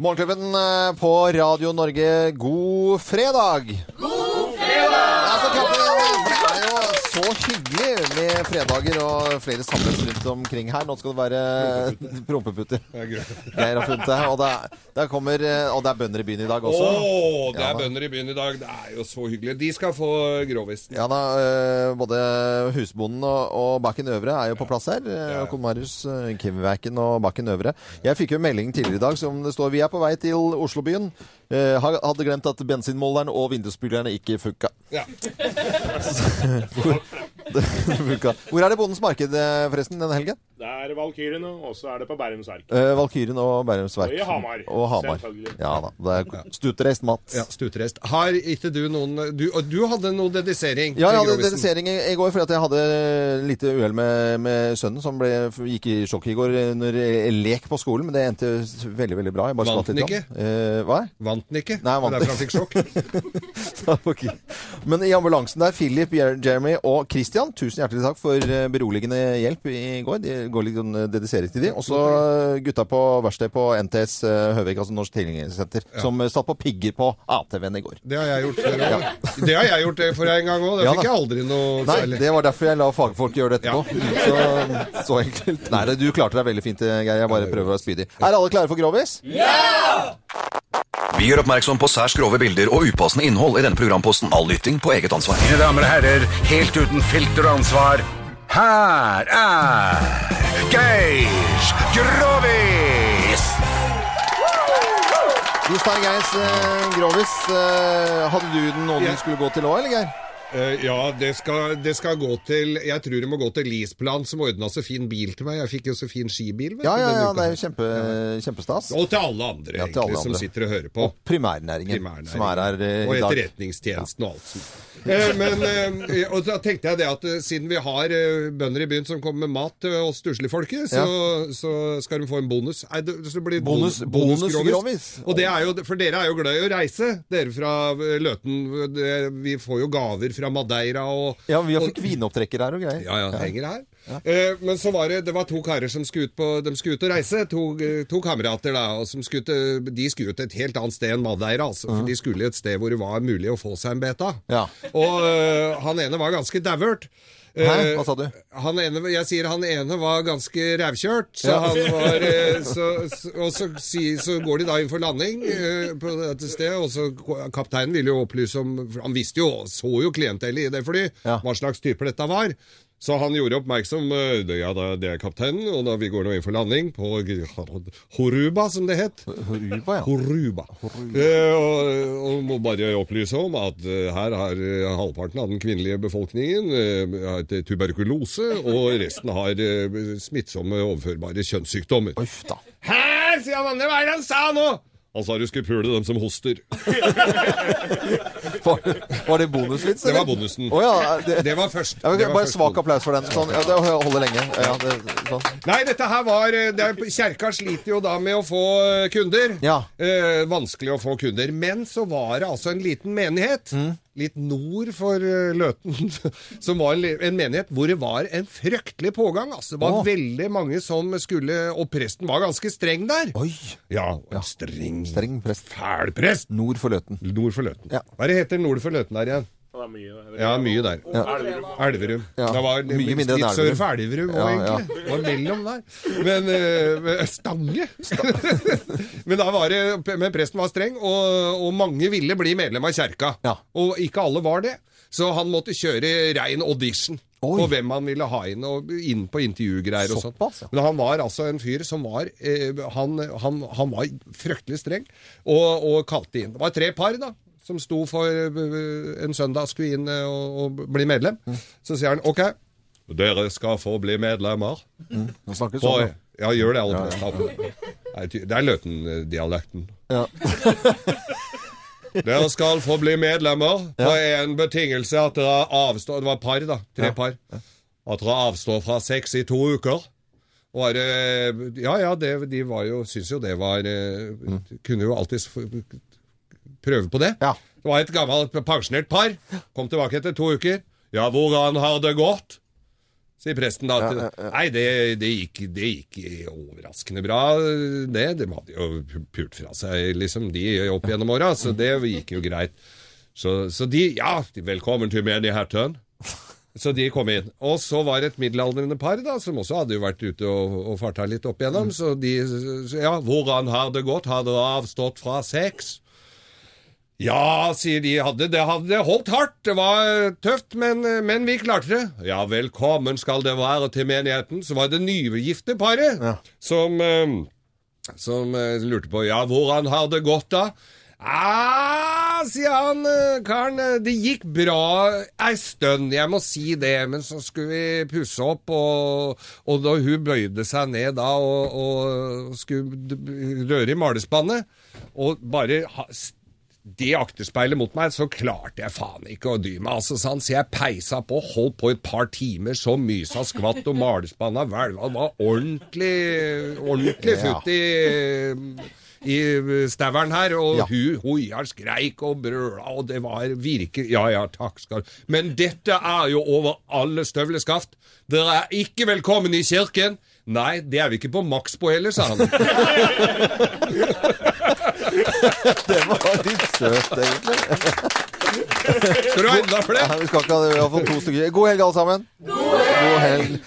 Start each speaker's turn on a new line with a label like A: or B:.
A: Morgenklubben eh, på Radio Norge, god fredag! God fredag! Ja, så klapper vi. det er jo så hyggelig med fredager og flere samles rundt omkring her. Nå skal det være prompeputter. Geir har funnet det. Og det, er, der kommer, eh, og det er bønder i byen i dag også.
B: Å, det
A: Ja,
B: er
A: da.
B: bønder i byen i dag. Det er jo så hyggelig. De skal få grovisen.
A: Ja da, eh, både husbonden og, og Bakken Øvre er jo på plass her. Ja.
B: ja.
A: Håkon Marius, eh, Kimverken og Bakken Øvre. Jeg fikk jo en melding tidligere i dag som det står Vi er på vei til Oslobyen. Eh, ha- hadde glemt at bensinmåleren og vindusspylerne ikke funka.
B: Ja.
A: funka. Hvor er det Bondens marked eh, forresten denne helgen?
C: Det er Valkyrien, og så er det på Bærums Ark.
A: Eh, Valkyrien og Bærums Verk.
C: Og i Hamar,
A: Og Hamar.
C: selvfølgelig.
A: Ja da. Det er stutreist mat.
B: Ja, Stutrest. Har ikke du noen Du, og du hadde noe dedisering
A: Ja, jeg
B: til
A: hadde
B: grovisen.
A: dedisering i, i går fordi at jeg hadde litt uhell med, med sønnen, som ble, gikk i sjokk i går under e, lek på skolen. Men det endte veldig veldig bra. Jeg bare
B: Vant
A: skvatt
B: den
A: litt. grann. Eh, hva?
B: Vant den ikke?
A: Nei, vant
B: Det er Derfor han fikk sjokk.
A: Ok. Men i ambulansen der, Philip, Jer- Jeremy og Christian, tusen hjertelig takk for eh, beroligende hjelp i går. De går litt sånn eh, dedisering til de. Og så eh, gutta på verkstedet på NTS eh, Høvik, altså Norsk Tilhengersenter, som eh, satt på pigger på ATV-en i går.
B: Det har jeg gjort før òg. Det har jeg gjort eh, for en gang òg. Det
A: Ja,
B: fikk
A: da.
B: jeg aldri noe
A: Nei,
B: særlig.
A: det var derfor jeg la fagfolk gjøre det etterpå. Så, så enkelt. Nei, det- du klarte deg veldig fint, eh, Geir. Jeg bare prøver å være spydig. Er alle klare for grovis?
D: Vi gjør oppmerksom på særs grove bilder og upassende innhold i denne programposten. All lytting på eget ansvar.
E: Mine damer og herrer, helt uten filter og ansvar, her er Geir Grovis!
A: Jostein Geirs eh, grovis. Eh, hadde du den nå
B: Ja.
A: den skulle gå til òg, eller, Geir?
B: Eh, ja, det skal, det skal gå til Jeg tror det må gå til Lisplan, som ordna så fin bil til meg. Jeg fikk jo så fin skibil. Vet
A: Ja,
B: du,
A: ja,
B: denne
A: ja.
B: uka.
A: Det er jo kjempe, kjempestas.
B: Og til alle andre,
A: Ja, til
B: egentlig,
A: alle andre.
B: som sitter og hører på.
A: Og primærnæringen,
B: Primærnæringen.
A: som er her eh,
B: og
A: i dag.
B: etterretningstjenesten og alt sånt. Eh, men, eh, og da tenkte jeg det at eh, siden vi har eh, bønder i byen som kommer med mat til oss stusslige så, så skal de få en bonus. Nei, det, så blir det
A: Bonus-
B: bon-
A: bonusgrovis.
B: Og det er jo, for dere er jo glad i å reise, dere fra eh, Løten. Det, vi får jo gaver fra Madeira og
A: Ja, vi har
B: og-
A: fikk vinopptrekker her og greier.
B: ja, ja, henger her. Eh, men så var det, det var to karer som skulle ut, på, de skulle ut og reise. To, eh, to kamerater, da. Og som skulle ut, eh, de skulle ut et helt annet sted enn Madeira. Altså, for de skulle et sted hvor det var mulig å få seg en beta.
A: Ja.
B: Og eh, han ene var ganske dauert. Eh,
A: Hæ? Hva sa du?
B: Han ene, jeg sier han ene var ganske rævkjørt, så
A: Ja.
B: han var eh, så, så- Og så, si, så går de da inn for landing eh, på dette stedet, og så kapteinen ville jo opplyse om for Han visste jo, så jo klientellet i det flyet,
A: Ja.
B: hva slags type dette var. Så han gjorde oppmerksom eh, det- Ja, da, det er kapteinen, og da vi går nå inn for landing på Horuba, som det het.
A: Horuba, ja.
B: Horuba. Eh, og, og må bare opplyse om at eh, her har eh, halvparten av den kvinnelige befolkningen eh, hatt tuberkulose, og resten har eh, smittsomme overførbare kjønnssykdommer.
A: Uff da.
B: Hæ, sier han andre, hva er det han sa nå? Han sa du skulle pule dem som hoster.
A: Var, var det bonusvits,
B: Det
A: eller?
B: var bonusen.
A: Å ja, det,
B: Det var først.
A: ja,
B: det var
A: bare
B: først.
A: svak applaus for den. Sånn, ja, det holder lenge. Ja, det, sånn.
B: Nei, dette her var eh, det er, Kjerka sliter jo da med å få eh, kunder.
A: Ja.
B: Eh, vanskelig å få kunder. Men så var det altså en liten menighet,
A: Mm.
B: litt nord for eh, Løten, som var en, li- en menighet hvor det var en fryktelig pågang. Altså, det var
A: Åh.
B: veldig mange som skulle Og presten var ganske streng der.
A: Oi!
B: Ja, streng,
A: Streng prest.
B: fæl prest.
A: Nord for Løten.
B: Nord for Løten.
A: Ja.
B: Hva er det heter nord for Løten der igjen?
C: Det er mye. det er
B: Ja, mye der.
C: Elverum.
B: Elverum.
A: Ja,
B: Det var
A: mye mindre enn
B: litt sør for
A: Elverum.
B: Elverum òg,
A: Ja, ja.
B: egentlig. Det var mellom der. Men eh, Stange! men da var det, men presten var streng, og, og mange ville bli medlem av kjerka.
A: Ja.
B: Og ikke alle var det, så han måtte kjøre rein audition.
A: Oi.
B: På hvem han ville ha inn, og inn på intervjugreier og sånn.
A: Såpass, ja.
B: Men han var altså en fyr som var eh, han, han, han var fryktelig streng, og, og kalte inn. Det var tre par, da. Som sto for eh, en søndag skulle inn eh, og, og bli medlem.
A: Mm.
B: Så sier han OK, dere skal få bli medlemmer.
A: Nå snakker du
B: På,
A: sånn.
B: ja, gjør det alle prestene. Nei, ty- Det er Løten-dialekten.
A: Ja.
B: Dere skal få bli medlemmer på en betingelse at dere avstår Det var par, da. Tre par. At dere avstår fra sex i to uker. Og er, det- ja ja, det, de var jo Syns jo det var eh, Kunne jo alltids f- prøve på det.
A: Mm. Ja.
B: Det var et gammelt pensjonert par. Kom tilbake etter to uker. Ja, hvordan har det gått? sier presten da. til- Nei, det, det, gikk, det gikk overraskende bra, det. De hadde jo pu- pult fra seg, liksom, de opp gjennom åra, så det gikk jo greit. Så, så de Ja, velkommen til menigheten. Så de kom inn. Og så var det et middelaldrende par da, som også hadde jo vært ute og, og farta litt opp igjennom. Så de så, Ja, hvordan har det gått? Har dere avstått fra sex? Ja, sier de. Hadde, det hadde holdt hardt. Det var eh, tøft, men, men vi klarte det. Ja, velkommen skal det være til menigheten. Så var det nygifte paret som, eh, som eh, lurte på Ja, hvordan har det gått, da? Ah, sier han eh, karen. eh, Det gikk bra ei stund, jeg må si det. Men så skulle vi pusse opp, og, og da hun bøyde seg ned da og, og skulle d- røre i malespannet, og bare ha, s- det akterspeilet mot meg, så klarte jeg faen ikke å dy meg. altså sant? Så jeg peisa på, holdt på et par timer, så mysa skvatt og malespanna hvelva. Det var ordentlig, ordentlig futt i i stavern her, og
A: Ja.
B: hun hoia, skreik og brøla, og det var virke... Ja, ja, takk skal du Men dette er jo over alle støvleskaft. Dere er ikke velkommen i kirken. Nei, det er vi ikke på maks på heller, sa han.
A: Det var litt søtt, egentlig.
B: Skal du ha enda flere?
A: Nei, vi skal ikke ha det. Vi har fått to stykker. God helg, alle sammen. God helg.